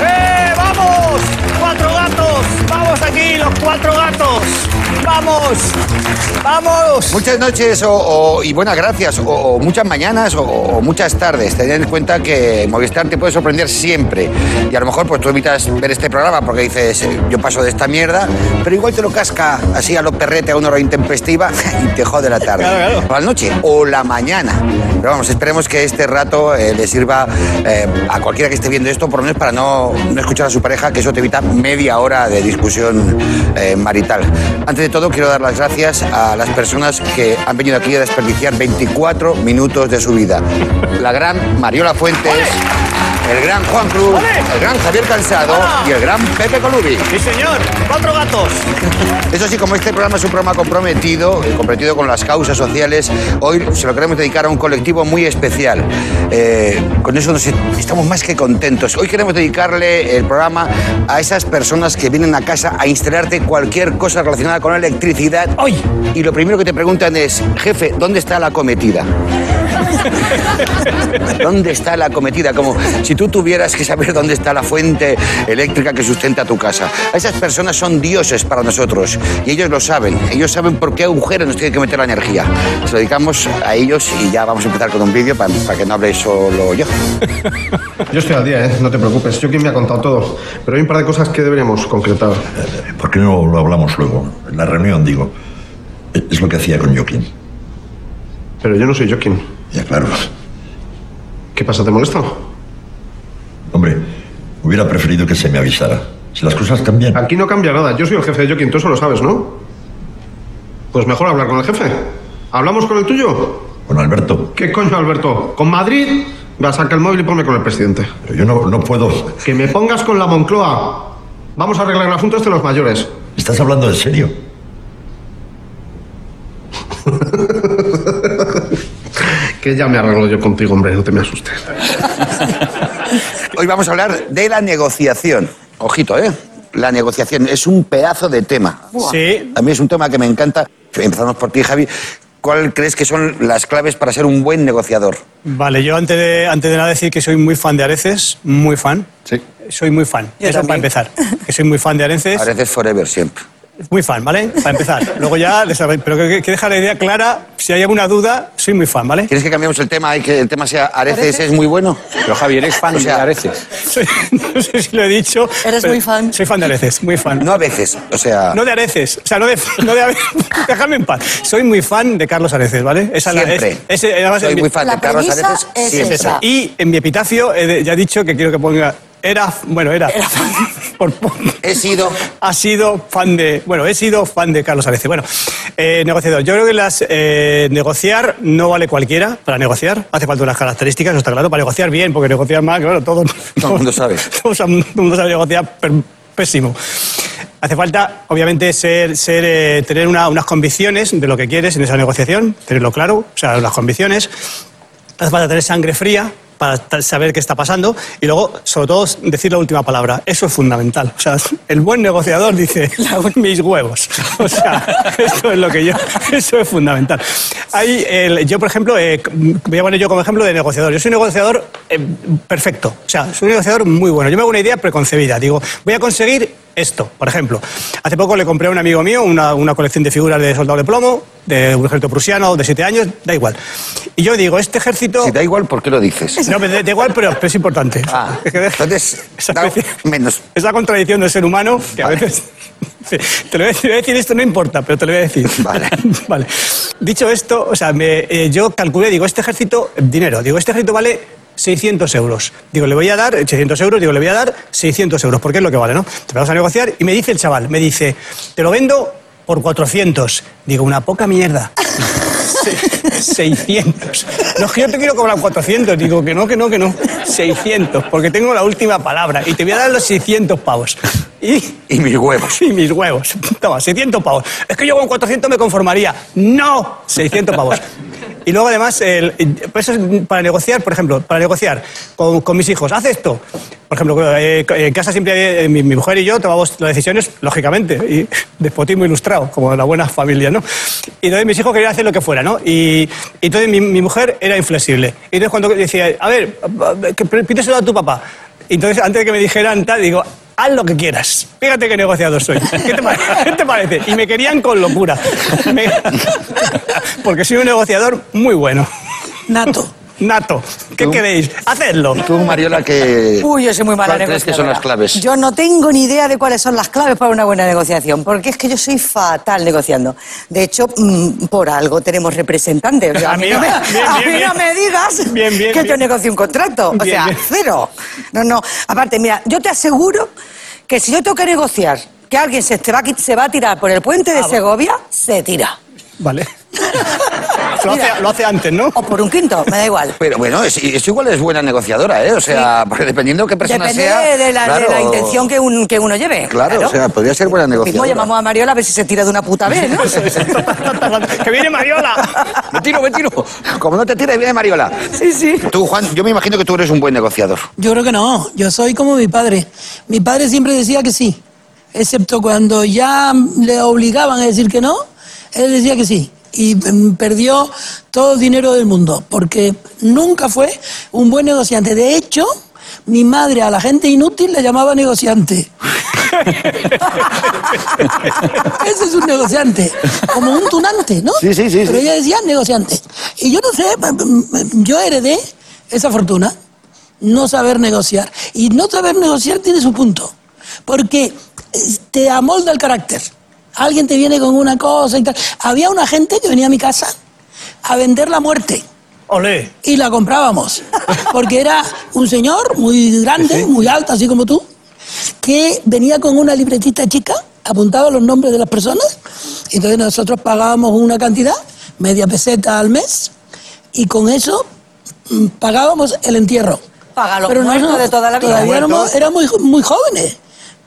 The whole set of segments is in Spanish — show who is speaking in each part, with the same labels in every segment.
Speaker 1: ¡Eh,
Speaker 2: ¡Vamos!
Speaker 3: Muchas noches o, o- y buenas gracias, o, o muchas mañanas o, o muchas tardes. Ten en cuenta que Movistar te puede sorprender siempre. Y a lo mejor pues tú evitas ver este programa porque dices, eh, yo paso de esta mierda, pero igual te lo casca así a lo perrete a una hora intempestiva y te jode la tarde.
Speaker 2: Claro, claro.
Speaker 3: O la noche o la mañana. Pero vamos, esperemos que este rato eh, le sirva eh, a cualquiera que esté viendo esto, por lo menos para no, no escuchar a su pareja, que eso te evita media hora de discusión eh, marital. Antes de todo, quiero dar las gracias a las personas que han venido aquí a desperdiciar 24 minutos de su vida. La gran Mariola Fuentes. El gran Juan Cruz,
Speaker 2: ¡Ole!
Speaker 3: el gran Javier Cansado
Speaker 2: ¡Hola!
Speaker 3: y el gran Pepe Colubi.
Speaker 2: Sí, señor. Cuatro gatos.
Speaker 3: Eso sí, como este programa es un programa comprometido, eh, comprometido con las causas sociales, hoy se lo queremos dedicar a un colectivo muy especial. Eh, con eso nos- estamos más que contentos. Hoy queremos dedicarle el programa a esas personas que vienen a casa a instalarte cualquier cosa relacionada con la electricidad.
Speaker 2: ¡Ay!
Speaker 3: Y lo primero que te preguntan es, jefe, ¿dónde está la cometida? ¿Dónde está la cometida? Como si tú tuvieras que saber dónde está la fuente eléctrica que sustenta tu casa. Esas personas son dioses para nosotros y ellos lo saben. Ellos saben por qué agujero nos tiene que meter la energía. Se lo dedicamos a ellos y ya vamos a empezar con un vídeo para, para que no hable solo yo.
Speaker 4: Yo estoy al día, ¿eh? no te preocupes. Yo quien me ha contado todo. Pero hay un par de cosas que deberíamos concretar.
Speaker 5: ¿Por qué no lo hablamos luego? En la reunión, digo. Es lo que hacía con Joaquín.
Speaker 4: Pero yo no soy yo quien.
Speaker 5: Ya, claro.
Speaker 4: ¿Qué pasa? ¿Te molesta?
Speaker 5: Hombre, hubiera preferido que se me avisara. Si las cosas cambian.
Speaker 6: Ah.
Speaker 4: Aquí no cambia nada. Yo soy el jefe de Joaquín, tú eso lo sabes, ¿no? Pues mejor hablar con el jefe. ¿Hablamos con el tuyo?
Speaker 5: Con Alberto.
Speaker 4: ¿Qué coño, Alberto? ¿Con Madrid? Va, saca el móvil y ponme con el presidente.
Speaker 5: Pero yo no, no puedo.
Speaker 4: Que me pongas con la Moncloa. Vamos a arreglar el asunto este de los mayores.
Speaker 5: ¿Estás hablando en serio?
Speaker 4: Que ya me arreglo yo contigo, hombre, no te me asustes.
Speaker 3: Hoy vamos a hablar de la negociación. Ojito, ¿eh? La negociación es un pedazo de tema.
Speaker 2: Sí.
Speaker 3: A mí es un tema que me encanta. Empezamos por ti, Javi. ¿Cuál crees que son las claves para ser un buen negociador?
Speaker 1: Vale, yo antes de, antes de nada decir que soy muy fan de Areces, muy fan.
Speaker 4: Sí.
Speaker 1: Soy muy fan.
Speaker 2: Yo
Speaker 1: Eso
Speaker 2: también.
Speaker 1: para empezar. Que soy muy fan de Areces.
Speaker 3: A veces forever, siempre.
Speaker 1: Muy fan, ¿vale? Para empezar. Luego ya, les habré- pero que, que deja la idea clara. Si hay alguna duda, soy muy fan, ¿vale?
Speaker 3: ¿Quieres que cambiemos el tema y que el tema sea Areces es muy bueno?
Speaker 7: Pero Javier eres fan
Speaker 3: O sea,
Speaker 7: de Areces.
Speaker 1: Soy- no sé si lo he dicho.
Speaker 2: Eres
Speaker 1: pero
Speaker 2: muy fan.
Speaker 1: Soy fan de Areces, muy fan.
Speaker 3: No a veces, o sea,
Speaker 1: No de Areces, o sea, no de. No de Areces. Dejadme en paz. Soy muy fan de Carlos Areces, ¿vale? Esa es la-
Speaker 3: siempre.
Speaker 1: es- ese- además,
Speaker 3: Soy
Speaker 1: en mi-
Speaker 3: muy fan de
Speaker 8: La
Speaker 3: Carlos
Speaker 8: premisa
Speaker 3: Areces.
Speaker 8: es
Speaker 3: siempre.
Speaker 8: esa.
Speaker 1: Y en mi epitafio he de- ya he dicho que quiero que ponga. Era. Bueno, era.
Speaker 8: Era fan.
Speaker 1: Por- por-
Speaker 3: He sido
Speaker 1: ha sido fan de. Bueno, he sido fan de Carlos Arece. Bueno, eh, negociador. Yo creo que las eh, negociar no vale cualquiera para negociar. Hace falta unas características, eso está claro. Para negociar bien, porque negociar mal, claro, todo.
Speaker 3: Todo el mundo sabe.
Speaker 1: Todo el mundo sabe negociar per- pésimo. Hace falta, obviamente, ser, ser, eh, tener una- unas convicciones de lo que quieres en esa negociación, tenerlo claro, o sea, las convicciones. Hace falta tener sangre fría para ta- saber qué está pasando y luego, sobre todo, decir la última palabra. Eso es fundamental. O sea, el buen negociador dice mis huevos. O sea, esto es lo que yo. Eso es fundamental. Hay el- yo, por ejemplo, eh, voy a poner yo como ejemplo de negociador. Yo soy un negociador eh, perfecto. O sea, soy un negociador muy bueno. Yo me hago una idea preconcebida. Digo, voy a conseguir esto, por ejemplo. Hace poco le compré a un amigo mío una, una colección de figuras de soldado de plomo, de un ejército prusiano de siete años, da igual. Y yo digo, este ejército...
Speaker 3: Si da igual, ¿por qué lo dices?
Speaker 1: No, me da da igual, pero, pero es importante.
Speaker 3: Ah,
Speaker 1: Es que deja-
Speaker 3: entonces,
Speaker 1: esa
Speaker 3: da
Speaker 1: especie-
Speaker 3: menos.
Speaker 1: Es la contradicción del ser humano que a
Speaker 3: Vale.
Speaker 1: veces... Te lo voy a decir, voy a decir, esto no importa, pero te lo voy a decir.
Speaker 3: Vale.
Speaker 1: Vale. Dicho esto, o sea, me- eh, yo calculé, digo, este ejército, dinero, digo, este ejército vale 600 euros. Digo, le voy a dar 800 euros, digo, le voy a dar 600 euros, porque es lo que vale, ¿no? Te vamos a negociar y me dice el chaval, me dice, te lo vendo por 400. Digo, una poca mierda. Se- 600. No, es que yo te quiero cobrar 400. Digo, que no, que no, que no. 600, porque tengo la última palabra y te voy a dar los 600 pavos. Y
Speaker 3: Y mis huevos.
Speaker 1: y mis huevos. Toma, 600 pavos. Es que yo con 400 me conformaría. No, 600 pavos. Y luego además, el- pues eso es para negociar, por ejemplo, para negociar con, con mis hijos, haz esto. Por ejemplo, eh, en casa siempre hay- eh, mi, mi mujer y yo tomamos las decisiones, lógicamente, y despotismo ilustrado, como de la buena familia, ¿no? Y entonces mis hijos querían hacer lo que fuera, ¿no? Y, y entonces mi, mi mujer era inflexible. Y entonces cuando decía, a ver, que pídeselo a tu papá. Y entonces antes de que me dijeran tal, digo, haz lo que quieras. Fíjate qué negociador soy. ¿Qué te, pare- qué te parece? Y me querían con locura. Me- Porque soy un negociador muy bueno.
Speaker 7: Nato.
Speaker 1: Nato, ¿qué queréis? Hacedlo.
Speaker 3: Tú, Mariola, que...
Speaker 7: Uy, yo soy muy mala
Speaker 3: ¿Cuál crees que son
Speaker 7: negociadora.
Speaker 3: las claves?
Speaker 7: Yo no tengo ni idea de cuáles son las claves para una buena negociación, porque es que yo soy fatal negociando. De hecho, mm, por algo tenemos representantes. O sea, a mí,
Speaker 1: Amigo,
Speaker 7: no me,
Speaker 1: bien, bien,
Speaker 7: a mí no
Speaker 1: bien.
Speaker 7: me digas
Speaker 1: Bien, bien,
Speaker 7: que yo
Speaker 1: bien.
Speaker 7: negocio un contrato. O
Speaker 1: Bien,
Speaker 7: sea,
Speaker 1: bien.
Speaker 7: cero. No, no. Aparte, mira, yo te aseguro que si yo tengo que negociar que alguien se, te va, a qui- se va a tirar por el puente
Speaker 3: Ah,
Speaker 7: de Segovia, se tira.
Speaker 1: Vale. Lo
Speaker 7: Mira.
Speaker 1: hace, lo hace antes, ¿no?
Speaker 7: O por un quinto, me da igual.
Speaker 3: Pero bueno, es, es igual es buena negociadora, ¿eh? O sea, porque dependiendo de qué persona
Speaker 7: Depende
Speaker 3: sea...
Speaker 7: de, la, de
Speaker 3: claro,
Speaker 7: la intención que, un- que uno lleve.
Speaker 3: Claro, o sea, podría ser buena
Speaker 7: Lo mismo
Speaker 3: negociadora.
Speaker 7: llamamos a Mariola a ver si se tira de una puta vez, ¿no?
Speaker 1: ¡Que viene Mariola!
Speaker 3: Me tiro, me tiro. Como no te tires, viene Mariola.
Speaker 7: Sí, sí.
Speaker 3: Tú, Juan, yo me imagino que tú eres un buen negociador.
Speaker 8: Yo creo que no, yo soy como mi padre. Mi padre siempre decía que sí, excepto cuando ya le obligaban a decir que no, él decía que sí. Y mm, perdió todo el dinero del mundo, porque nunca fue un buen negociante. De hecho, mi madre a la gente inútil le llamaba negociante. Ese es un negociante, como un tunante, ¿no?
Speaker 3: Sí, sí, sí,
Speaker 8: Pero
Speaker 3: sí.
Speaker 8: ella decía negociante. Y yo no sé, yo heredé esa fortuna, no saber negociar. Y no saber negociar tiene su punto, porque eh, te amolda el carácter. Alguien te viene con una cosa y tal. Había una gente que venía a mi casa a vender la muerte
Speaker 1: ¡Olé!
Speaker 8: y la comprábamos. Porque era un señor muy grande, muy alto, así como tú, que venía con una libretita chica, apuntaba los nombres de las personas. Entonces nosotros pagábamos una cantidad, media peseta al mes, y con eso mm, pagábamos el entierro.
Speaker 7: Paga los muertos de toda la vida.
Speaker 8: Todavía éramos,
Speaker 7: Muertos.
Speaker 8: éramos jo- muy jóvenes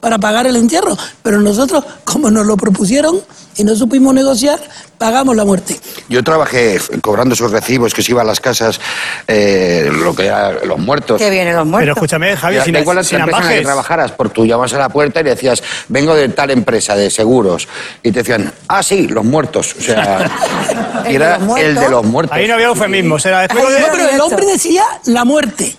Speaker 8: para pagar el entierro, pero nosotros, como nos lo propusieron y no supimos negociar, pagamos la muerte.
Speaker 3: Yo trabajé cobrando esos recibos que se iba a las casas, eh, lo que era los muertos.
Speaker 7: Que vienen los
Speaker 1: Pero
Speaker 7: muertos.
Speaker 1: escúchame, Javi,
Speaker 3: Ya,
Speaker 1: sin,
Speaker 3: da igual la
Speaker 1: sin
Speaker 3: empresa en la que
Speaker 1: ambajes.
Speaker 3: trabajaras, porque tú llamabas a la puerta y le decías, vengo de tal empresa de seguros. Y te decían, ah, sí, los muertos. O sea, y
Speaker 7: ¿El de
Speaker 3: era
Speaker 7: los muertos?
Speaker 3: el de los muertos.
Speaker 1: Ahí no había eufemismos. Era después de...
Speaker 8: No, pero el
Speaker 7: Directo.
Speaker 8: hombre decía la muerte.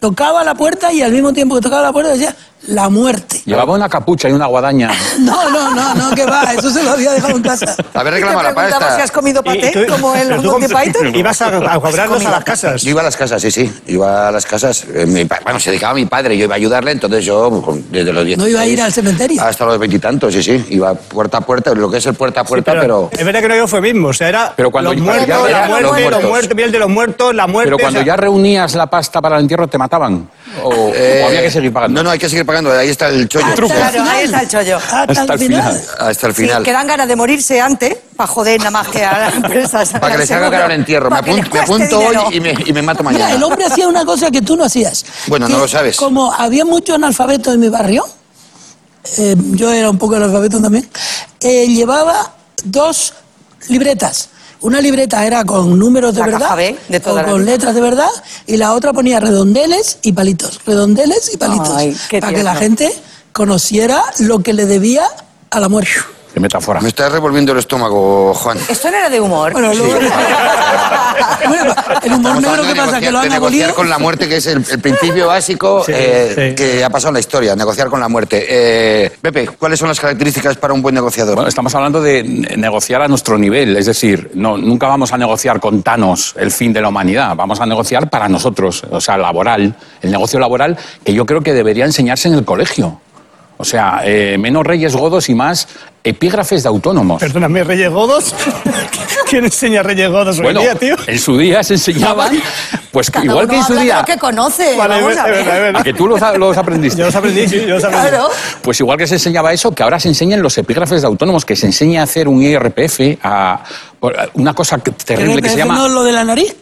Speaker 8: Tocaba la puerta y al mismo tiempo que tocaba la puerta decía la muerte.
Speaker 9: Llevaba una capucha y una guadaña.
Speaker 8: No, no, no, no, que va, eso se lo había dejado en casa.
Speaker 3: A ver,
Speaker 7: Y te
Speaker 3: reclama la
Speaker 7: preguntaba
Speaker 3: pasta.
Speaker 7: si has comido
Speaker 1: Y- y
Speaker 7: paté,
Speaker 1: tú-
Speaker 7: como el
Speaker 1: pero tú
Speaker 7: Monty
Speaker 1: com-
Speaker 7: Python.
Speaker 1: Ibas a, a cobrarlos a las casas.
Speaker 3: Yo iba a las casas, sí, sí. Iba a las casas. eh, mi pa- bueno, se dedicaba a mi padre, yo iba a ayudarle, entonces yo con- desde los 10.
Speaker 8: iba a ir al cementerio?
Speaker 3: Hasta los veintitantos, sí, sí. Iba puerta a puerta, lo que es el puerta a puerta, pero...
Speaker 1: Es verdad que no había eufemismo, o sea, era
Speaker 9: Pero cuando
Speaker 1: los
Speaker 9: ya
Speaker 1: muertos,
Speaker 3: era
Speaker 1: la
Speaker 3: los
Speaker 1: muerte, los
Speaker 3: muertos.
Speaker 1: muertos, piel de los muertos, la muerte.
Speaker 9: Pero cuando
Speaker 1: o sea,
Speaker 9: ya reunías la pasta para el entierro, ¿te mataban? ¿O, o
Speaker 3: eh,
Speaker 9: había que seguir pagando?
Speaker 3: No, no, hay que seguir pagando, ahí está el
Speaker 7: Ah,
Speaker 3: chollo.
Speaker 8: Hasta
Speaker 7: Claro,
Speaker 8: el
Speaker 7: ahí está
Speaker 8: final.
Speaker 7: el chollo.
Speaker 8: Hasta, el Ah, final.
Speaker 3: Hasta el final.
Speaker 7: Sí, que dan ganas de morirse antes para joder nada más que a las empresas.
Speaker 3: Para que les haga cara al entierro. Me apunto, me apunto hoy y me, y me mato
Speaker 8: Mira, el
Speaker 3: mañana.
Speaker 8: hombre hacía una cosa que tú no hacías.
Speaker 3: Bueno, no
Speaker 8: Que
Speaker 3: lo sabes.
Speaker 8: Como había mucho analfabeto en mi barrio, eh, yo era un poco analfabeto también, eh, llevaba dos libretas. Una libreta era con números de
Speaker 7: La caja
Speaker 8: verdad,
Speaker 7: B de toda
Speaker 8: o
Speaker 7: la
Speaker 8: con
Speaker 7: vida.
Speaker 8: letras de verdad, y la otra ponía redondeles y palitos, redondeles y palitos,
Speaker 7: Ay, qué
Speaker 8: para que la
Speaker 7: tierno.
Speaker 8: gente conociera lo que le debía a la muerte.
Speaker 9: Qué metáfora.
Speaker 3: Me está revolviendo el estómago, Juan.
Speaker 7: Esto no era de humor.
Speaker 8: Bueno, luego... Bueno, el humor
Speaker 3: Estamos
Speaker 8: negro,
Speaker 3: hablando de
Speaker 8: ¿qué pasa? ¿Que
Speaker 3: negociar-
Speaker 8: lo
Speaker 3: de
Speaker 8: han
Speaker 3: negociar
Speaker 8: abolido?
Speaker 3: con la muerte, que es el, el principio básico
Speaker 1: Sí,
Speaker 3: eh,
Speaker 1: sí.
Speaker 3: que ha pasado en la historia, negociar con la muerte. Eh, Pepe, ¿cuáles son las características para un buen negociador?
Speaker 9: Bueno, estamos hablando de ne- negociar a nuestro nivel, es decir, no, nunca vamos a negociar con Thanos el fin de la humanidad, vamos a negociar para nosotros, o sea, laboral, el negocio laboral que yo creo que debería enseñarse en el colegio. O sea, eh, menos reyes godos y más epígrafes de autónomos.
Speaker 1: Perdóname, Reyes Godos. ¿Quién enseña Reyes Godos
Speaker 9: bueno,
Speaker 1: hoy
Speaker 9: Eh,
Speaker 1: día, tío?
Speaker 9: en su día se enseñaban, pues
Speaker 7: Cada
Speaker 9: igual
Speaker 7: uno
Speaker 9: que en su
Speaker 7: habla de
Speaker 9: día,
Speaker 7: lo que conoce.
Speaker 1: Vale,
Speaker 7: vamos
Speaker 1: es
Speaker 7: a
Speaker 1: verdad, es
Speaker 7: ver.
Speaker 1: verdad.
Speaker 9: a que tú los, los aprendiste.
Speaker 1: Yo los aprendí, sí, yo los aprendí.
Speaker 7: Claro.
Speaker 9: Pues igual que se enseñaba eso, que ahora se enseñan los epígrafes de autónomos, que se enseña a hacer un IRPF, a, por- a una cosa que- terrible que se
Speaker 8: ¿RPF
Speaker 9: llama...
Speaker 8: no lo de la nariz?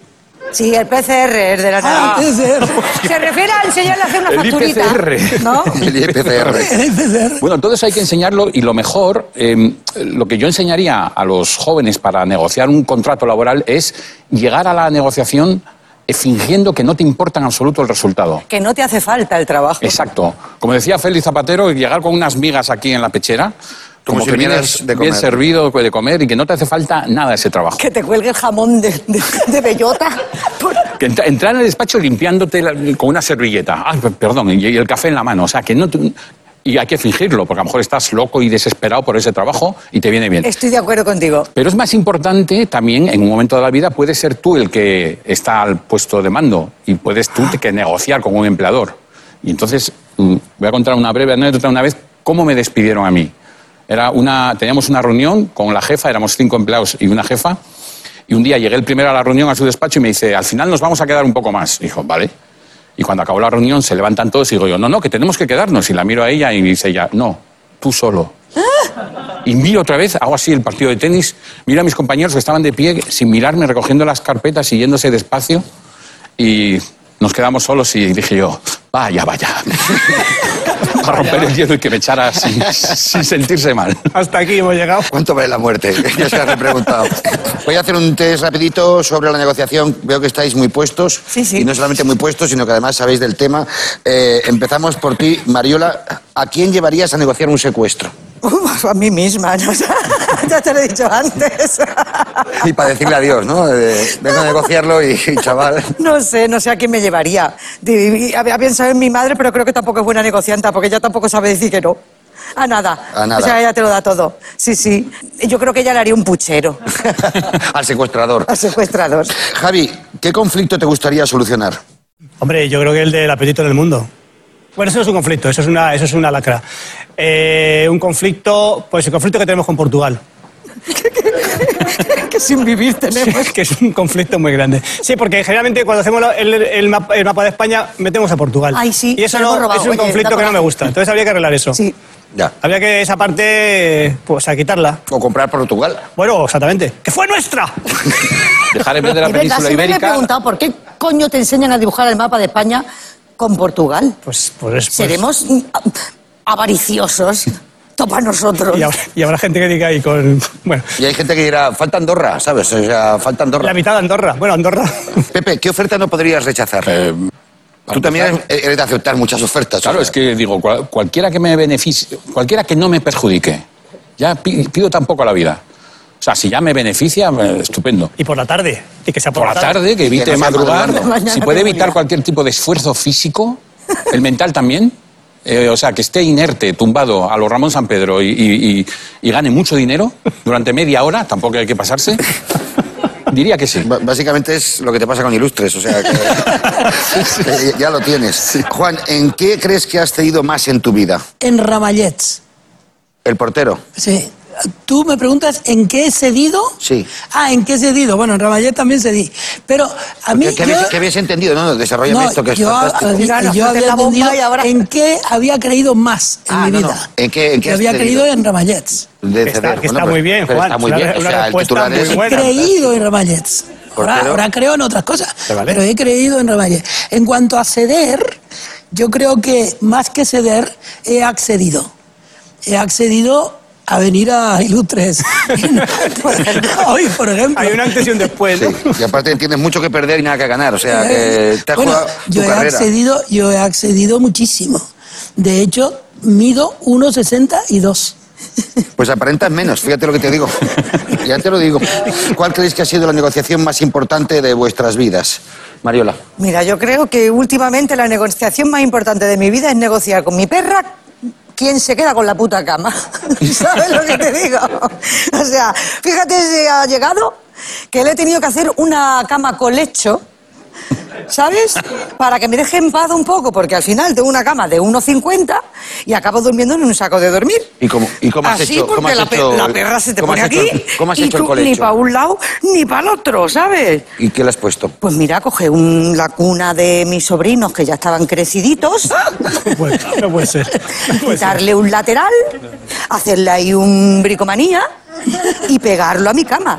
Speaker 7: Sí, el PCR es de la
Speaker 8: Ah,
Speaker 7: nariz.
Speaker 8: PCR.
Speaker 7: Se refiere al señor a hacer una
Speaker 9: El
Speaker 7: facturita.
Speaker 9: IPCR.
Speaker 7: ¿No?
Speaker 3: El IPCR.
Speaker 8: El PCR.
Speaker 9: Bueno, entonces hay que enseñarlo y lo mejor, eh, lo que yo enseñaría a los jóvenes para negociar un contrato laboral es llegar a la negociación eh, fingiendo que no te importa en absoluto el resultado.
Speaker 7: Que no te hace falta el trabajo.
Speaker 9: Exacto. Como decía Félix Zapatero, llegar con unas migas aquí en la pechera,
Speaker 3: Como
Speaker 9: como,
Speaker 3: si
Speaker 9: que
Speaker 3: vinieras
Speaker 9: vienes
Speaker 3: de
Speaker 9: bien
Speaker 3: comer.
Speaker 9: servido de comer y que no te hace falta nada ese trabajo.
Speaker 7: Que te cuelgue el jamón de, de, de bellota. Por-
Speaker 9: Que entra- entrar en el despacho limpiándote la- con una servilleta. Ah, p- perdón, y y el café en la mano. O sea, que no... te- y hay que fingirlo, porque a lo mejor estás loco y desesperado por ese trabajo y te viene bien.
Speaker 7: Estoy de acuerdo contigo.
Speaker 9: Pero es más importante también, en un momento de la vida, puedes ser tú el que está al puesto de mando y puedes tú que negociar con un empleador. Y entonces, mm, voy a contar una breve anécdota una vez, cómo me despidieron a mí. Era una, teníamos una reunión con la jefa, éramos cinco empleados y una jefa, y un día llegué el primero a la reunión a su despacho y me dice, al final nos vamos a quedar un poco más. Dijo, vale. Y cuando acabó la reunión se levantan todos y digo yo, no, no, que tenemos que quedarnos. Y la miro a ella y dice ella, no, tú solo. Y miro otra vez, hago así el partido de tenis, miro a mis compañeros que estaban de pie, sin mirarme, recogiendo las carpetas y yéndose despacio. Y nos quedamos solos y dije yo, vaya, vaya. Para romper el hielo y que me echara sin, sin sentirse mal.
Speaker 1: Hasta aquí hemos llegado.
Speaker 3: ¿Cuánto vale la muerte? Ya se lo he preguntado. Voy a hacer un test rapidito sobre la negociación. Veo que estáis muy puestos.
Speaker 7: Sí, sí.
Speaker 3: Y no solamente muy puestos, sino que además sabéis del tema. Eh, empezamos por ti, Mariola. ¿A quién llevarías a negociar un secuestro?
Speaker 7: Uf, a mí misma, ¿no? ya te lo he dicho antes.
Speaker 3: Y para decirle adiós, ¿no? Eh, vengo a negociarlo y, y, chaval.
Speaker 7: No sé, no sé a quién me llevaría. Di- Había pensado en mi madre, pero creo que tampoco es buena negocianta, porque ella tampoco sabe decir que no. A nada.
Speaker 3: A nada.
Speaker 7: O sea, ella te lo da todo. Sí, sí. Yo creo que ella le haría un puchero
Speaker 3: Al secuestrador.
Speaker 7: al secuestrador.
Speaker 3: Javi, ¿qué conflicto te gustaría solucionar?
Speaker 1: Hombre, yo creo que el del apetito en el mundo. Bueno, eso no es un conflicto, eso es una, eso es una lacra. Eh, un conflicto, pues el conflicto que tenemos con Portugal,
Speaker 7: que sin vivir tenemos.
Speaker 1: que es un conflicto muy grande. Sí, porque generalmente cuando hacemos lo- el, el map- el mapa de España metemos a Portugal.
Speaker 7: Ay, sí,
Speaker 1: y eso
Speaker 7: lo hemos
Speaker 1: no,
Speaker 7: robado.
Speaker 1: es un
Speaker 7: Oye,
Speaker 1: conflicto
Speaker 7: da
Speaker 1: que no me
Speaker 7: coraje.
Speaker 1: gusta. Entonces habría que arreglar eso.
Speaker 7: Sí.
Speaker 3: Ya.
Speaker 1: Habría que esa parte, pues a quitarla.
Speaker 3: ¿O comprar Portugal?
Speaker 1: Bueno, exactamente. ¡Que fue nuestra!
Speaker 9: Dejar en vez de la
Speaker 10: Es verdad,
Speaker 9: península
Speaker 10: siempre me he
Speaker 9: ibérica.
Speaker 10: preguntado por qué coño te enseñan a dibujar el mapa de España con Portugal.
Speaker 1: Pues, pues, pues-
Speaker 10: Seremos mm, a- avariciosos. Topa nosotros.
Speaker 1: Y habrá, y habrá gente que diga ahí con. Bueno,
Speaker 3: Y hay gente que dirá, falta Andorra, ¿sabes? O sea, falta Andorra.
Speaker 1: la mitad de Andorra. Bueno, Andorra.
Speaker 3: Pepe, ¿qué oferta no podrías rechazar? Tú también eres- eres de aceptar muchas ofertas.
Speaker 9: Eh, Claro,
Speaker 3: o
Speaker 9: es
Speaker 3: sea.
Speaker 9: que digo, cual- cualquiera que me beneficie, cualquiera que no me perjudique, ya pi- pido tampoco a la vida. O sea, si ya me beneficia, eh, estupendo.
Speaker 1: Y por la tarde. Y que sea por,
Speaker 9: Por la tarde, que evite
Speaker 3: Que no sea
Speaker 9: madrugar,
Speaker 3: madrugando.
Speaker 9: si puede evitar cualquier tipo de esfuerzo físico, el mental también. eh, o sea, que esté inerte, tumbado a los Ramón San Pedro y, y- y- y gane mucho dinero durante media hora, tampoco hay que pasarse. Diría que sí.
Speaker 3: B- Básicamente es lo que te pasa con ilustres, o sea, que, que ya lo tienes. Juan, ¿en qué crees que has cedido más en tu vida?
Speaker 8: En Ramallets.
Speaker 3: ¿El portero?
Speaker 8: Sí. Tú me preguntas en qué he cedido.
Speaker 3: Sí.
Speaker 8: Ah, en qué he cedido. Bueno, en Ramallets también cedí. Pero a mí.
Speaker 3: ¿Qué, qué
Speaker 8: yo-
Speaker 3: habías, qué habías entendido? No, no, desarrollame
Speaker 8: No,
Speaker 3: esto que es
Speaker 8: yo,
Speaker 3: fantástico.
Speaker 8: había-
Speaker 7: Claro,
Speaker 8: yo
Speaker 7: haces
Speaker 8: había
Speaker 7: la bomba
Speaker 8: entendido
Speaker 7: y ahora-
Speaker 8: en qué había creído más en
Speaker 3: Ah,
Speaker 8: mi
Speaker 3: no, no.
Speaker 8: vida.
Speaker 3: ¿En qué- en qué
Speaker 8: Yo
Speaker 3: has
Speaker 8: había
Speaker 3: creído?
Speaker 8: creído en Ramallets.
Speaker 3: De
Speaker 1: Que está- que
Speaker 3: ceder. Bueno,
Speaker 1: está
Speaker 3: pero-
Speaker 1: muy bien,
Speaker 3: pero está
Speaker 1: Juan.
Speaker 3: muy
Speaker 1: Una
Speaker 3: bien.
Speaker 1: re-
Speaker 3: o
Speaker 1: una
Speaker 3: sea, el
Speaker 1: respuesta
Speaker 3: titular
Speaker 1: muy
Speaker 3: es-
Speaker 8: He
Speaker 1: buena.
Speaker 8: creído en Ramallets. Ahora,
Speaker 3: Portero.
Speaker 8: ahora creo en otras cosas,
Speaker 1: Te vale.
Speaker 8: pero he creído en Ramallets. En cuanto a ceder, yo creo que más que ceder, he accedido. He accedido a venir a Ilustres. Hoy, por ejemplo.
Speaker 1: Hay un antes y un después. ¿no?
Speaker 3: Sí, Y aparte tienes mucho que perder y nada que ganar, o sea,
Speaker 7: eh,
Speaker 3: que te has
Speaker 8: Eh, Bueno,
Speaker 3: jugado tu
Speaker 8: yo he
Speaker 3: carrera.
Speaker 8: accedido, yo he accedido muchísimo. De hecho, mido 1,62.
Speaker 3: Pues aparentas menos, fíjate lo que te digo. Ya te lo digo. ¿Cuál creéis que ha sido la negociación más importante de vuestras vidas? Mariola.
Speaker 7: Mira, yo creo que últimamente la negociación más importante de mi vida es negociar con mi perra quién se queda con la puta cama. ¿Sabes lo que te digo? O sea, fíjate si ha llegado que le he tenido que hacer una cama con lecho. ¿Sabes? Para que me deje en paz un poco, porque al final tengo una cama de 1,50 y acabo durmiendo en un saco de dormir.
Speaker 3: ¿Y cómo, y cómo has
Speaker 7: Así
Speaker 3: hecho?
Speaker 7: porque
Speaker 3: cómo has
Speaker 7: la, pe-
Speaker 3: hecho-
Speaker 7: la perra se te
Speaker 3: cómo
Speaker 7: pone
Speaker 3: has hecho-
Speaker 7: aquí
Speaker 3: ¿Cómo has
Speaker 7: y
Speaker 3: hecho el
Speaker 7: tú ni
Speaker 3: colecho?
Speaker 7: para un lado ni para el otro, ¿sabes?
Speaker 3: ¿Y qué le has puesto?
Speaker 7: Pues mira, coge un- la cuna de mis sobrinos que ya estaban creciditos,
Speaker 1: No puede, no puede ser. No puede ser.
Speaker 7: darle un lateral, hacerle ahí un bricomanía y pegarlo a mi cama.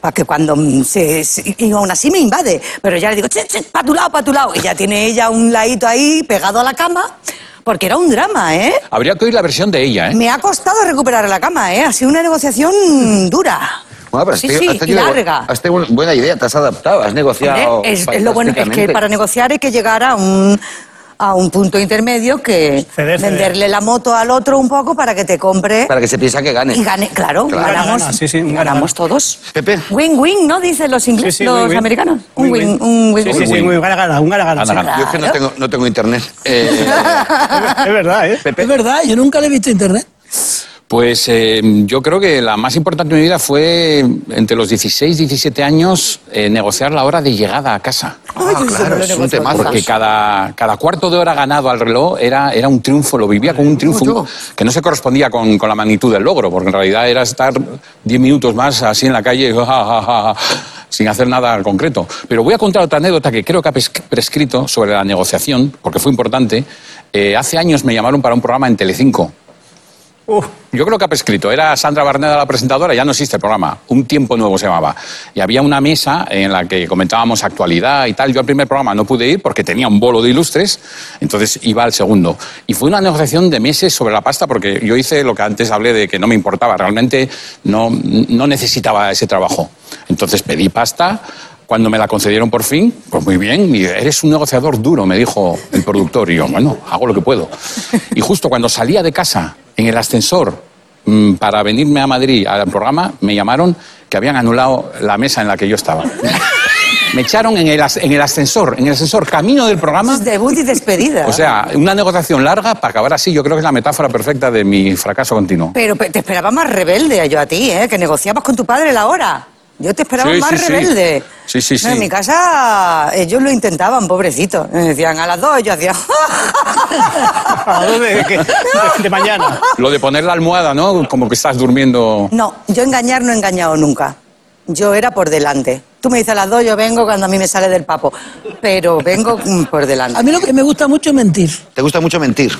Speaker 7: Para que cuando mm, se, se- Y aún así me invade. Pero ya le digo, che, che, pa' tu lado, pa' tu lado. Y ya tiene ella un ladito ahí pegado a la cama, porque era un drama, ¿eh?
Speaker 9: Habría que oír la versión de ella, ¿eh?
Speaker 7: Me ha costado recuperar la cama, ¿eh? Ha sido una negociación dura.
Speaker 3: Bueno, pero has
Speaker 7: sí,
Speaker 3: tenido-
Speaker 7: sí,
Speaker 3: has
Speaker 7: y
Speaker 3: tenido-
Speaker 7: larga.
Speaker 3: Has tenido una buena idea, te has adaptado, has negociado.
Speaker 7: Hombre, es, es lo bueno es que
Speaker 3: fantásticamente.
Speaker 7: para negociar hay que llegar a un a un punto intermedio que
Speaker 1: Ceder, ceder.
Speaker 7: venderle la moto al otro un poco para que te compre
Speaker 3: Para que se piensa que gane.
Speaker 7: y gane. Claro,
Speaker 3: Claro.
Speaker 7: ganamos,
Speaker 1: Gana, sí, sí, un gana.
Speaker 7: ganamos todos.
Speaker 3: Pepe.
Speaker 7: Win-win, ¿no? Dicen los ingleses,
Speaker 1: Sí, sí,
Speaker 7: los
Speaker 1: win-win.
Speaker 7: americanos. Un
Speaker 1: Win-win.
Speaker 7: win, un win,
Speaker 1: Sí, sí, sí,
Speaker 9: Win-win.
Speaker 1: muy gana, gana, un gana, gana.
Speaker 9: Gana,
Speaker 1: sí.
Speaker 9: gana.
Speaker 3: Yo es que no tengo, no tengo internet. Eh,
Speaker 1: Es verdad, ¿eh?
Speaker 8: Es verdad, yo nunca le he visto internet.
Speaker 9: Pues eh, yo creo que la más importante de mi vida fue, entre los 16 y 17 años, eh, negociar la hora de llegada a casa.
Speaker 7: Ay,
Speaker 3: ah,
Speaker 7: yo siempre
Speaker 3: claro,
Speaker 7: lo
Speaker 3: es un
Speaker 7: negocio en
Speaker 3: temazo.
Speaker 7: casa.
Speaker 9: Porque cada, cada cuarto de hora ganado al reloj era, era un triunfo, lo vivía con un triunfo que no se correspondía con, con la magnitud del logro, porque en realidad era estar 10 minutos más así en la calle, ja, ja, ja, ja, sin hacer nada concreto. Pero voy a contar otra anécdota que creo que ha pres- prescrito sobre la negociación, porque fue importante. Eh, hace años me llamaron para un programa en Telecinco.
Speaker 1: Uf,
Speaker 9: Yo creo que ha prescrito. Era Sandra Barneda la presentadora, ya no existe el programa. Un tiempo nuevo se llamaba. Y había una mesa en la que comentábamos actualidad y tal. Yo al primer programa no pude ir porque tenía un bolo de ilustres, entonces iba al segundo. Y fue una negociación de meses sobre la pasta porque yo hice lo que antes hablé de que no me importaba. Realmente no, no necesitaba ese trabajo. Entonces pedí pasta. Cuando me la concedieron por fin, pues muy bien, y eres un negociador duro, me dijo el productor. Y yo, bueno, hago lo que puedo. Y justo cuando salía de casa, en el ascensor, mm, para venirme a Madrid al programa, me llamaron que habían anulado la mesa en la que yo estaba. Me echaron en el, as- en el ascensor, en el ascensor, camino del programa.
Speaker 7: Es Debut y despedida.
Speaker 9: O sea, una negociación larga para acabar así, yo creo que es la metáfora perfecta de mi fracaso continuo.
Speaker 7: Pero pe- te esperaba más rebelde yo a ti, ¿eh? Que negociabas con tu padre la hora. Yo te esperaba
Speaker 9: Sí,
Speaker 7: más
Speaker 9: sí, sí.
Speaker 7: rebelde.
Speaker 9: Sí, sí, sí.
Speaker 7: No, En mi casa ellos lo intentaban, pobrecito. Me decían a las dos, yo hacía...
Speaker 1: ¿a dónde? ¿De, qué? De- de mañana.
Speaker 9: Lo de poner la almohada, ¿no? Como que estás durmiendo.
Speaker 7: No, yo engañar no he engañado nunca. Yo era por delante. Tú me dices a las dos, yo vengo cuando a mí me sale del papo. Pero vengo mm, por delante.
Speaker 8: A mí lo que me gusta mucho es mentir.
Speaker 3: ¿Te gusta mucho mentir?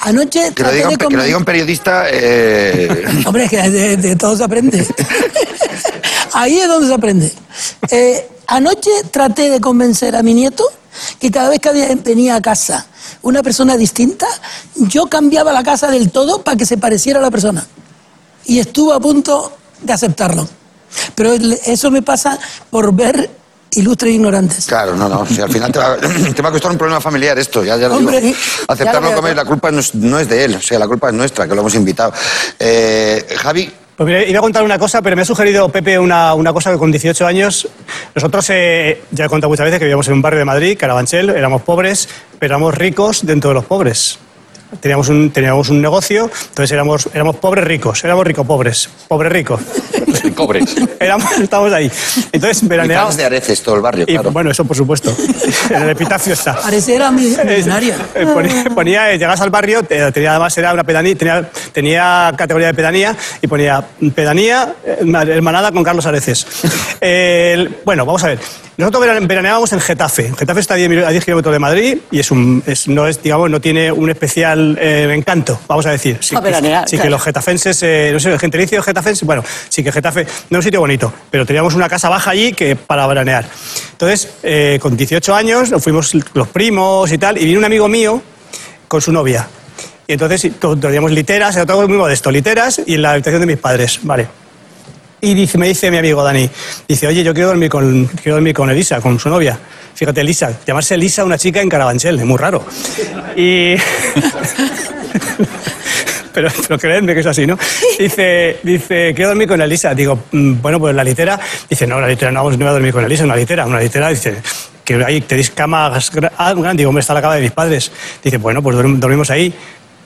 Speaker 8: Anoche
Speaker 3: Que lo
Speaker 8: traté
Speaker 3: diga un,
Speaker 8: de
Speaker 3: pe- que lo
Speaker 8: conven-
Speaker 3: diga un periodista... eh,
Speaker 8: Hombre, es que de, de todo se aprende. Ahí es donde se aprende. Eh, anoche traté de convencer a mi nieto que cada vez que había- venía a casa una persona distinta, yo cambiaba la casa del todo para que se pareciera a la persona. Y estuvo a punto de aceptarlo. Pero el- eso me pasa por ver ilustres ignorantes.
Speaker 3: Claro, no, no. Si al final te va, te va a costar un problema familiar esto, ya, ya lo
Speaker 8: Hombre,
Speaker 3: digo.
Speaker 8: ya lo
Speaker 3: Aceptarlo
Speaker 8: veo.
Speaker 3: como es, la culpa no es, no es de él, o sea, la culpa es nuestra, que lo hemos invitado. Eh, Javi,
Speaker 1: Pues mira, iba a contar una cosa, pero me ha sugerido Pepe una, una cosa que con 18 años. Nosotros, eh, ya he contado muchas veces que vivíamos en un barrio de Madrid, Carabanchel, éramos pobres, pero éramos ricos dentro de los pobres. Teníamos un, teníamos un negocio, entonces éramos, éramos pobres ricos, éramos ricos pobres, pobres ricos.
Speaker 9: Cobres.
Speaker 1: Éramos, estábamos ahí. Entonces,
Speaker 3: y fans
Speaker 1: veraneábamos.
Speaker 3: de Areces, todo el barrio,
Speaker 1: Y
Speaker 3: claro.
Speaker 1: bueno, eso por supuesto. en el epitafio está.
Speaker 8: Pareciera mi-
Speaker 1: Es-
Speaker 8: millonaria.
Speaker 1: eh, ponía, ponía, eh, llegas al barrio, te- tenía además era una pedanía, tenía, tenía categoría de pedanía y ponía pedanía eh, hermanada con Carlos Areces. El- bueno, vamos a ver. Nosotros verane- veraneábamos en Getafe. Getafe está a 10, mil- a 10 kilómetros de Madrid y es un, es- no es, digamos, no tiene un especial eh, encanto, vamos a decir. Sí,
Speaker 7: A
Speaker 1: que-
Speaker 7: veranear,
Speaker 1: sí que
Speaker 7: claro.
Speaker 1: los getafenses, eh, no sé, el gentilicio getafense, bueno, sí que Getafe no es un sitio bonito, pero teníamos una casa baja allí que para veranear. Entonces, eh, con 18 años, nos fuimos los primos y tal, y vino un amigo mío con su novia. Y entonces y to- teníamos literas, era todo muy modesto, literas y en la habitación de mis padres, vale. Y dice- me dice mi amigo Dani, dice, oye, yo quiero dormir con, quiero dormir con Elisa, con su novia. Fíjate, Elisa, llamarse Elisa una chica en Carabanchel, es muy raro. Y... pero, pero creedme que es así, ¿no? Dice, dice, quiero dormir con Elisa. Digo, "Mm, bueno, pues la litera. Dice, no, la litera no, vamos, no voy a dormir con Elisa, una litera, una litera. Dice, que ahí tenéis camas gra- ah, grandes. Digo, hombre, está la cama de mis padres. Dice, bueno, pues dorm- dormimos ahí.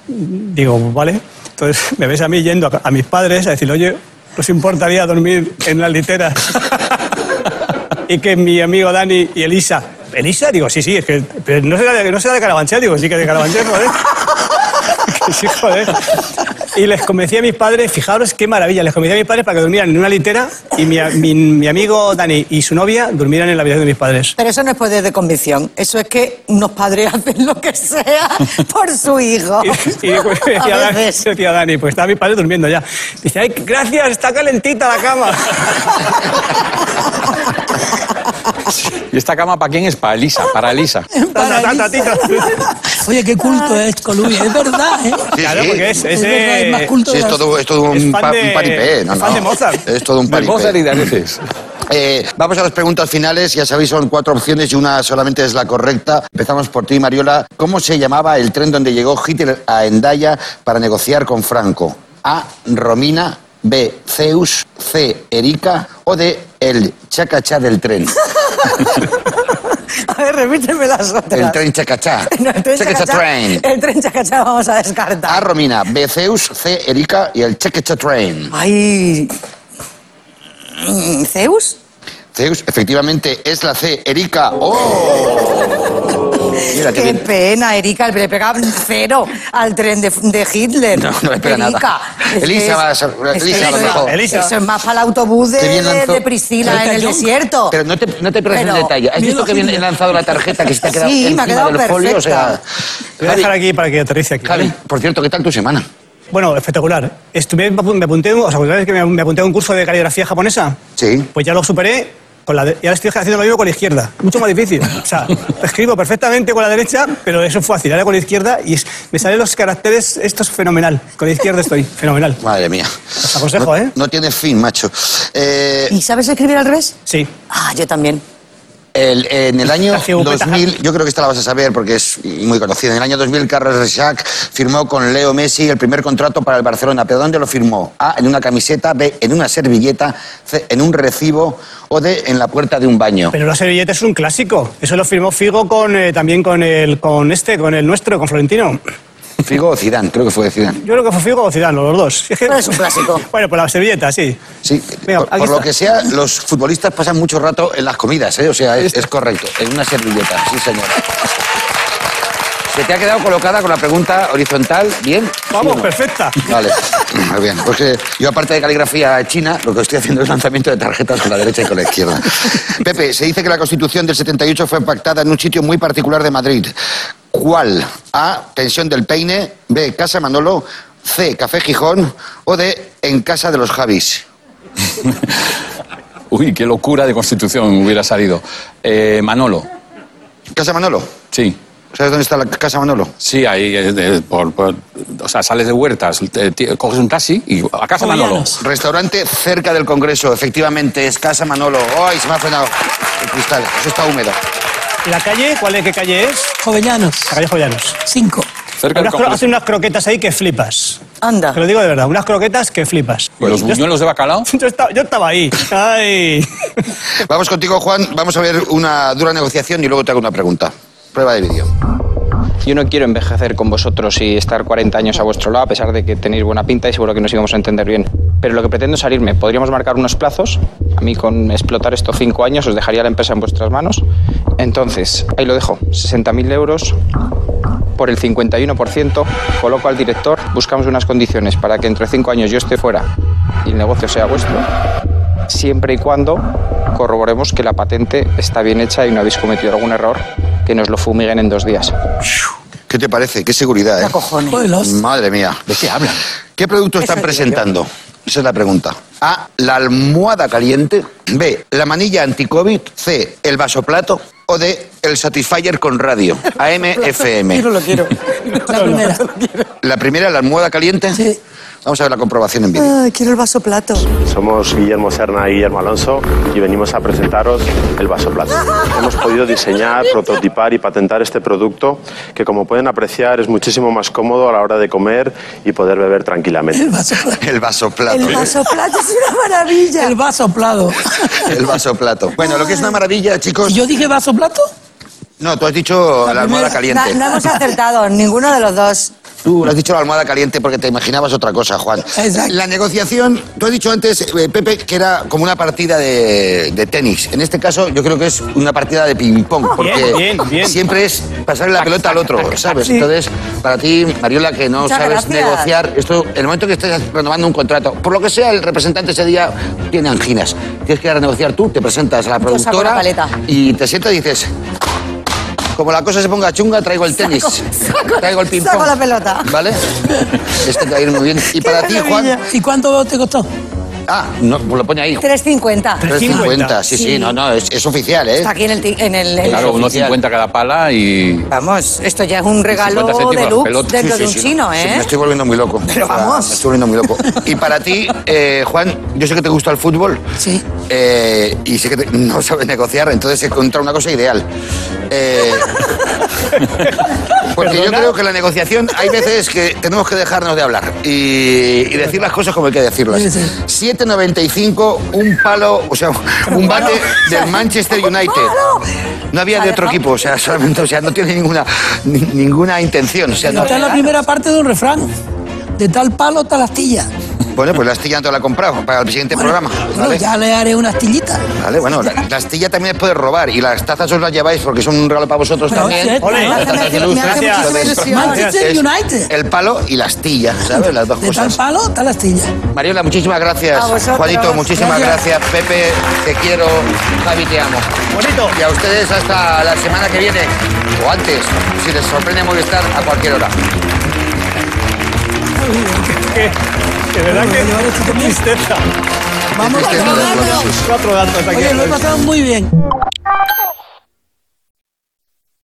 Speaker 1: Digo, vale. Entonces me ves a mí yendo a, a mis padres a decir, oye, ¿os importaría dormir en las literas? y que mi amigo Dani y Elisa. ¿Elisa? Digo, sí, sí, es que pero no será de, no será de Carabanchel. Digo, sí que es de Carabanchel, joder. Que sí, joder. Y les convencí a mis padres, fijaros qué maravilla, les convencí a mis padres para que durmieran en una litera y mi, a- mi- mi amigo Dani y su novia durmieran en la habitación de mis padres.
Speaker 7: Pero eso no es poder de convicción. Eso es que unos padres hacen lo que sea por su hijo.
Speaker 1: Y, y pues, decía,
Speaker 7: a
Speaker 1: Dani,
Speaker 7: veces.
Speaker 1: decía Dani, pues estaba mi padre durmiendo ya. Dice, ay, gracias, está calentita la cama.
Speaker 9: ¿Y esta cama para quién es? Para Elisa, para Elisa.
Speaker 1: Tata, tata, tita.
Speaker 8: Oye, qué culto es Columbia, es verdad, ¿eh?
Speaker 3: Sí,
Speaker 1: Claro,
Speaker 3: sí.
Speaker 1: porque es, es,
Speaker 8: Es verdad, es más
Speaker 1: eh,
Speaker 8: culto
Speaker 3: Sí, es
Speaker 8: de la-
Speaker 3: todo, es todo
Speaker 1: Es
Speaker 3: un,
Speaker 1: fan
Speaker 3: pa-
Speaker 1: de-
Speaker 3: un paripé. No,
Speaker 1: es fan
Speaker 3: no.
Speaker 1: de Mozart.
Speaker 3: Es todo un
Speaker 9: De
Speaker 3: paripé.
Speaker 9: Mozart y de Areces.
Speaker 3: Eh, vamos a las preguntas finales. Ya sabéis, son cuatro opciones y una solamente es la correcta. Empezamos por ti, Mariola. ¿Cómo se llamaba el tren donde llegó Hitler a Endaya para negociar con Franco? A. Romina. B. Zeus. C. Erika. O D. El chacachá del tren.
Speaker 7: A ver, repíteme las otras.
Speaker 3: El tren chacachá.
Speaker 7: No, el tren
Speaker 3: Chacachá
Speaker 7: chacachá-
Speaker 3: train.
Speaker 7: El tren chacachá vamos a
Speaker 3: A.
Speaker 7: descartar.
Speaker 3: Romina. B. Zeus. C. Erika. Y el chacachá train.
Speaker 7: Ay. Mm, ¿Zeus?
Speaker 3: Zeus, efectivamente, es la C. Erika. ¡Oh! Mira, qué
Speaker 7: Qué
Speaker 3: bien.
Speaker 7: pena, Erika, le pegaba cero al tren de, de Hitler.
Speaker 3: No, no le pega
Speaker 7: Erika,
Speaker 3: nada.
Speaker 7: es que
Speaker 3: Elisa
Speaker 7: es-
Speaker 3: va a ser-
Speaker 7: es que
Speaker 3: Elisa
Speaker 1: a lo
Speaker 7: eso-
Speaker 1: mejor. Elisa.
Speaker 7: Eso es más para el autobús de,
Speaker 3: Qué bien
Speaker 7: de,
Speaker 3: lanzó.
Speaker 7: de Priscila en el
Speaker 8: Elisa Young.
Speaker 7: desierto.
Speaker 3: Pero no te, no te pierdas
Speaker 7: Oh. Pero-
Speaker 3: el detalle. ¿Has
Speaker 8: Mira
Speaker 3: visto que bien he lanzado la tarjeta que se te ha quedado
Speaker 7: Sí, me ha
Speaker 3: encima
Speaker 7: quedado
Speaker 3: del folio? O sea,
Speaker 7: perfecta.
Speaker 1: Te voy a
Speaker 3: Javi,
Speaker 1: dejar aquí para que aterrice aquí.
Speaker 3: Javi, por cierto, ¿qué tal tu semana?
Speaker 1: Bueno, espectacular. Estuve, me apunté, o sea, ¿sabes que me me apunté a un curso de caligrafía japonesa?
Speaker 3: Sí.
Speaker 1: Pues ya lo superé. Con la de- y ahora estoy haciendo lo mismo con la izquierda. Mucho más difícil. O sea, escribo perfectamente con la derecha, pero eso es fácil. Ahora con la izquierda y es- me salen los caracteres. Esto es fenomenal. Con la izquierda estoy. Fenomenal.
Speaker 3: Madre mía.
Speaker 1: Os aconsejo,
Speaker 3: no,
Speaker 1: ¿eh?
Speaker 3: No tiene fin, macho. Eh,
Speaker 7: ¿Y sabes escribir al revés?
Speaker 1: Sí.
Speaker 7: Ah, yo también.
Speaker 3: el- en el año
Speaker 1: La geopeta.
Speaker 3: 2000, yo creo que esta la vas a saber porque es muy conocida. En el año 2000, Carlos Reixac firmó con Leo Messi el primer contrato para el Barcelona. ¿Pero dónde lo firmó? A, en una camiseta, B, en una servilleta, C, en un recibo o D, en la puerta de un baño.
Speaker 1: Pero la servilleta es un clásico. Eso lo firmó Figo con, eh, también con, el, con este, con el nuestro, con Florentino.
Speaker 3: Figo o Zidane, creo que fue Zidane.
Speaker 1: Yo creo que fue Figo o Zidane, los dos. Es, que-
Speaker 7: Pero Ah, es un clásico.
Speaker 1: bueno, pues la servilleta, sí.
Speaker 3: Sí,
Speaker 1: Venga,
Speaker 3: por,
Speaker 1: aquí
Speaker 3: por lo
Speaker 1: está.
Speaker 3: que sea, los futbolistas pasan mucho rato en las comidas, ¿eh? O sea, es, es correcto, en una servilleta, sí señora. Se te ha quedado colocada con la pregunta horizontal, ¿bien? ¿Sí
Speaker 1: Vamos,
Speaker 3: o no?
Speaker 1: perfecta.
Speaker 3: Vale, muy bien. Pues que yo, aparte de caligrafía china, lo que estoy haciendo es lanzamiento de tarjetas con la derecha y con la izquierda. Pepe, se dice que la Constitución del 78 fue pactada en un sitio muy particular de Madrid. ¿Cuál? A. Pensión del Peine. B. Casa Manolo. C. Café Gijón. O D. En casa de los Javis.
Speaker 9: Uy, qué locura de constitución hubiera salido. Eh, Manolo,
Speaker 3: Casa Manolo.
Speaker 9: sí.
Speaker 3: ¿Sabes dónde está la casa Manolo?
Speaker 9: Sí, ahí, eh, de- por- por- o sea, sales de huertas, te- te- coges un taxi y a casa Manolo.
Speaker 8: Joyanos.
Speaker 3: Restaurante cerca del Congreso, efectivamente, es Casa Manolo. ¡Ay, se me ha frenado el cristal! Eso está húmedo.
Speaker 1: ¿Y ¿La calle? ¿Cuál es? ¿Qué calle es?
Speaker 8: Jovellanos.
Speaker 1: La calle Jovellanos.
Speaker 8: Cinco.
Speaker 9: Cerca del
Speaker 1: Unas cro-
Speaker 9: Congreso.
Speaker 1: hacen unas croquetas ahí que flipas.
Speaker 7: Anda.
Speaker 1: Te lo digo de verdad, unas croquetas que flipas.
Speaker 9: ¿Y los buñuelos de bacalao?
Speaker 1: Yo estaba, yo estaba ahí. Ay.
Speaker 3: Vamos contigo, Juan. Vamos a ver una dura negociación y luego te hago una pregunta. Prueba de vídeo.
Speaker 11: Yo no quiero envejecer con vosotros y estar 40 años a vuestro lado, a pesar de que tenéis buena pinta y seguro que nos íbamos a entender bien. Pero lo que pretendo es salirme. Podríamos marcar unos plazos. A mí, con explotar estos 5 años, os dejaría la empresa en vuestras manos. Entonces, ahí lo dejo: 60.000 euros por el 51%. Coloco al director, buscamos unas condiciones para que entre 5 años yo esté fuera y el negocio sea vuestro. Siempre y cuando corroboremos que la patente está bien hecha y no habéis cometido algún error, que nos lo fumiguen en dos días.
Speaker 3: ¿Qué te parece? ¡Qué seguridad,
Speaker 7: La
Speaker 3: eh!
Speaker 7: cojones.
Speaker 8: Joder, la hostia.
Speaker 3: Madre mía.
Speaker 9: ¿De qué hablan?
Speaker 3: ¿Qué producto están presentando? Esa es la pregunta. A. La almohada caliente. B. La manilla anti-COVID. C. El vasoplato. O D. El satisfier con radio. AM, FM.
Speaker 7: Yo no lo quiero.
Speaker 8: La primera.
Speaker 3: La primera, la almohada caliente.
Speaker 8: Sí.
Speaker 3: Vamos a ver la comprobación en vídeo.
Speaker 7: Ay, quiero el vaso plato.
Speaker 6: Somos Guillermo Serna y Guillermo Alonso y venimos a presentaros el vaso plato. Hemos podido diseñar, prototipar y patentar este producto que como pueden apreciar es muchísimo más cómodo a la hora de comer y poder beber tranquilamente.
Speaker 8: El vaso,
Speaker 3: El vasoplato.
Speaker 7: El vaso plato es una maravilla.
Speaker 8: el vaso soplado.
Speaker 3: El vasoplato. Bueno, lo que es una maravilla, chicos.
Speaker 8: ¿Yo dije vaso plato?
Speaker 3: No, tú has dicho la, almohada
Speaker 7: No,
Speaker 3: caliente.
Speaker 7: no hemos acertado, ninguno de los dos.
Speaker 3: Tú le has dicho la almohada caliente porque te imaginabas otra cosa, Juan.
Speaker 8: Exacto.
Speaker 3: La negociación, tú has dicho antes, eh, Pepe, que era como una partida de, de tenis. En este caso, yo creo que es una partida de ping-pong, porque
Speaker 1: bien, bien.
Speaker 3: siempre es pasarle la pelota al otro, ¿sabes? Entonces, para ti, Mariola, que no
Speaker 7: Muchas
Speaker 3: sabes
Speaker 7: gracias.
Speaker 3: negociar, esto, en el momento que estés renovando un contrato, por lo que sea, el representante ese día tiene anginas. Tienes que ir a negociar tú, te presentas a la
Speaker 7: Yo saco
Speaker 3: productora
Speaker 7: la paleta.
Speaker 3: y te sientas y dices. Como la cosa se ponga chunga, traigo el tenis.
Speaker 7: saco-
Speaker 3: traigo el ping
Speaker 7: saco la pelota.
Speaker 3: ¿Vale? Este te va a ir muy bien. Y para ti, Juan.
Speaker 7: maravilla.
Speaker 8: ¿Y cuánto te costó?
Speaker 3: Ah, no, pues lo pone ahí.
Speaker 7: 3.50.
Speaker 3: 350. Sí, sí,
Speaker 7: Sí.
Speaker 3: no, no, es, es oficial, ¿eh?
Speaker 7: Está Pues aquí en el... ti- En el en-
Speaker 9: Claro, unos 50 cada pala y.
Speaker 7: Vamos, esto ya es un regalo
Speaker 9: 50 céntimos,
Speaker 7: de lujo
Speaker 9: pelota.
Speaker 7: dentro
Speaker 9: Sí,
Speaker 7: de un
Speaker 9: sí, sí,
Speaker 7: chino,
Speaker 3: Sí,
Speaker 7: ¿eh?
Speaker 3: me estoy volviendo muy loco.
Speaker 7: Pero
Speaker 3: O sea,
Speaker 7: vamos.
Speaker 3: Me estoy volviendo muy loco. Y para ti, eh, Juan, yo sé que te gusta el fútbol.
Speaker 8: Sí.
Speaker 3: eh, y sé que te- no sabe negociar, entonces he encontrado una cosa ideal. Eh, porque yo creo que en la negociación hay veces que tenemos que dejarnos de hablar y, y decir las cosas como hay que decirlas. 7.95, un palo, o sea, un bate del Manchester United. No había de otro equipo, o sea, solamente, o sea, no tiene ninguna, ni- ninguna intención. O sea, no-
Speaker 8: Está en la primera parte de un refrán. De tal palo, tal astilla.
Speaker 3: Bueno, pues la astilla no te la he comprado para el siguiente programa.
Speaker 8: Bueno, ya le haré una astillita.
Speaker 3: Vale, bueno, la, la astilla también es poder robar y las tazas os las lleváis porque son un regalo para vosotros
Speaker 8: Pero
Speaker 3: también.
Speaker 8: cierto, Ole, ¿no?
Speaker 3: Las
Speaker 8: me
Speaker 3: tazas
Speaker 8: hace-
Speaker 3: de luz,
Speaker 8: me hace
Speaker 3: gracias.
Speaker 8: muchísima
Speaker 3: Entonces,
Speaker 8: ilusión. Manchester
Speaker 3: es
Speaker 8: United.
Speaker 3: El palo y la astilla, ¿sabes? Las dos
Speaker 8: De tal
Speaker 3: cosas.
Speaker 8: palo, tal astilla.
Speaker 3: Mariola, muchísimas gracias.
Speaker 8: A vosotros.
Speaker 3: Juanito, muchísimas gracias.
Speaker 8: Gracias.
Speaker 3: Pepe, te quiero. Javi, te amo. Bonito. Y a ustedes hasta la semana que viene o antes, si les sorprende Movistar a cualquier hora.
Speaker 1: De verdad que tristeza.
Speaker 8: Vamos a
Speaker 1: Cuatro datos aquí.
Speaker 8: Oye, lo he pasado muy bien.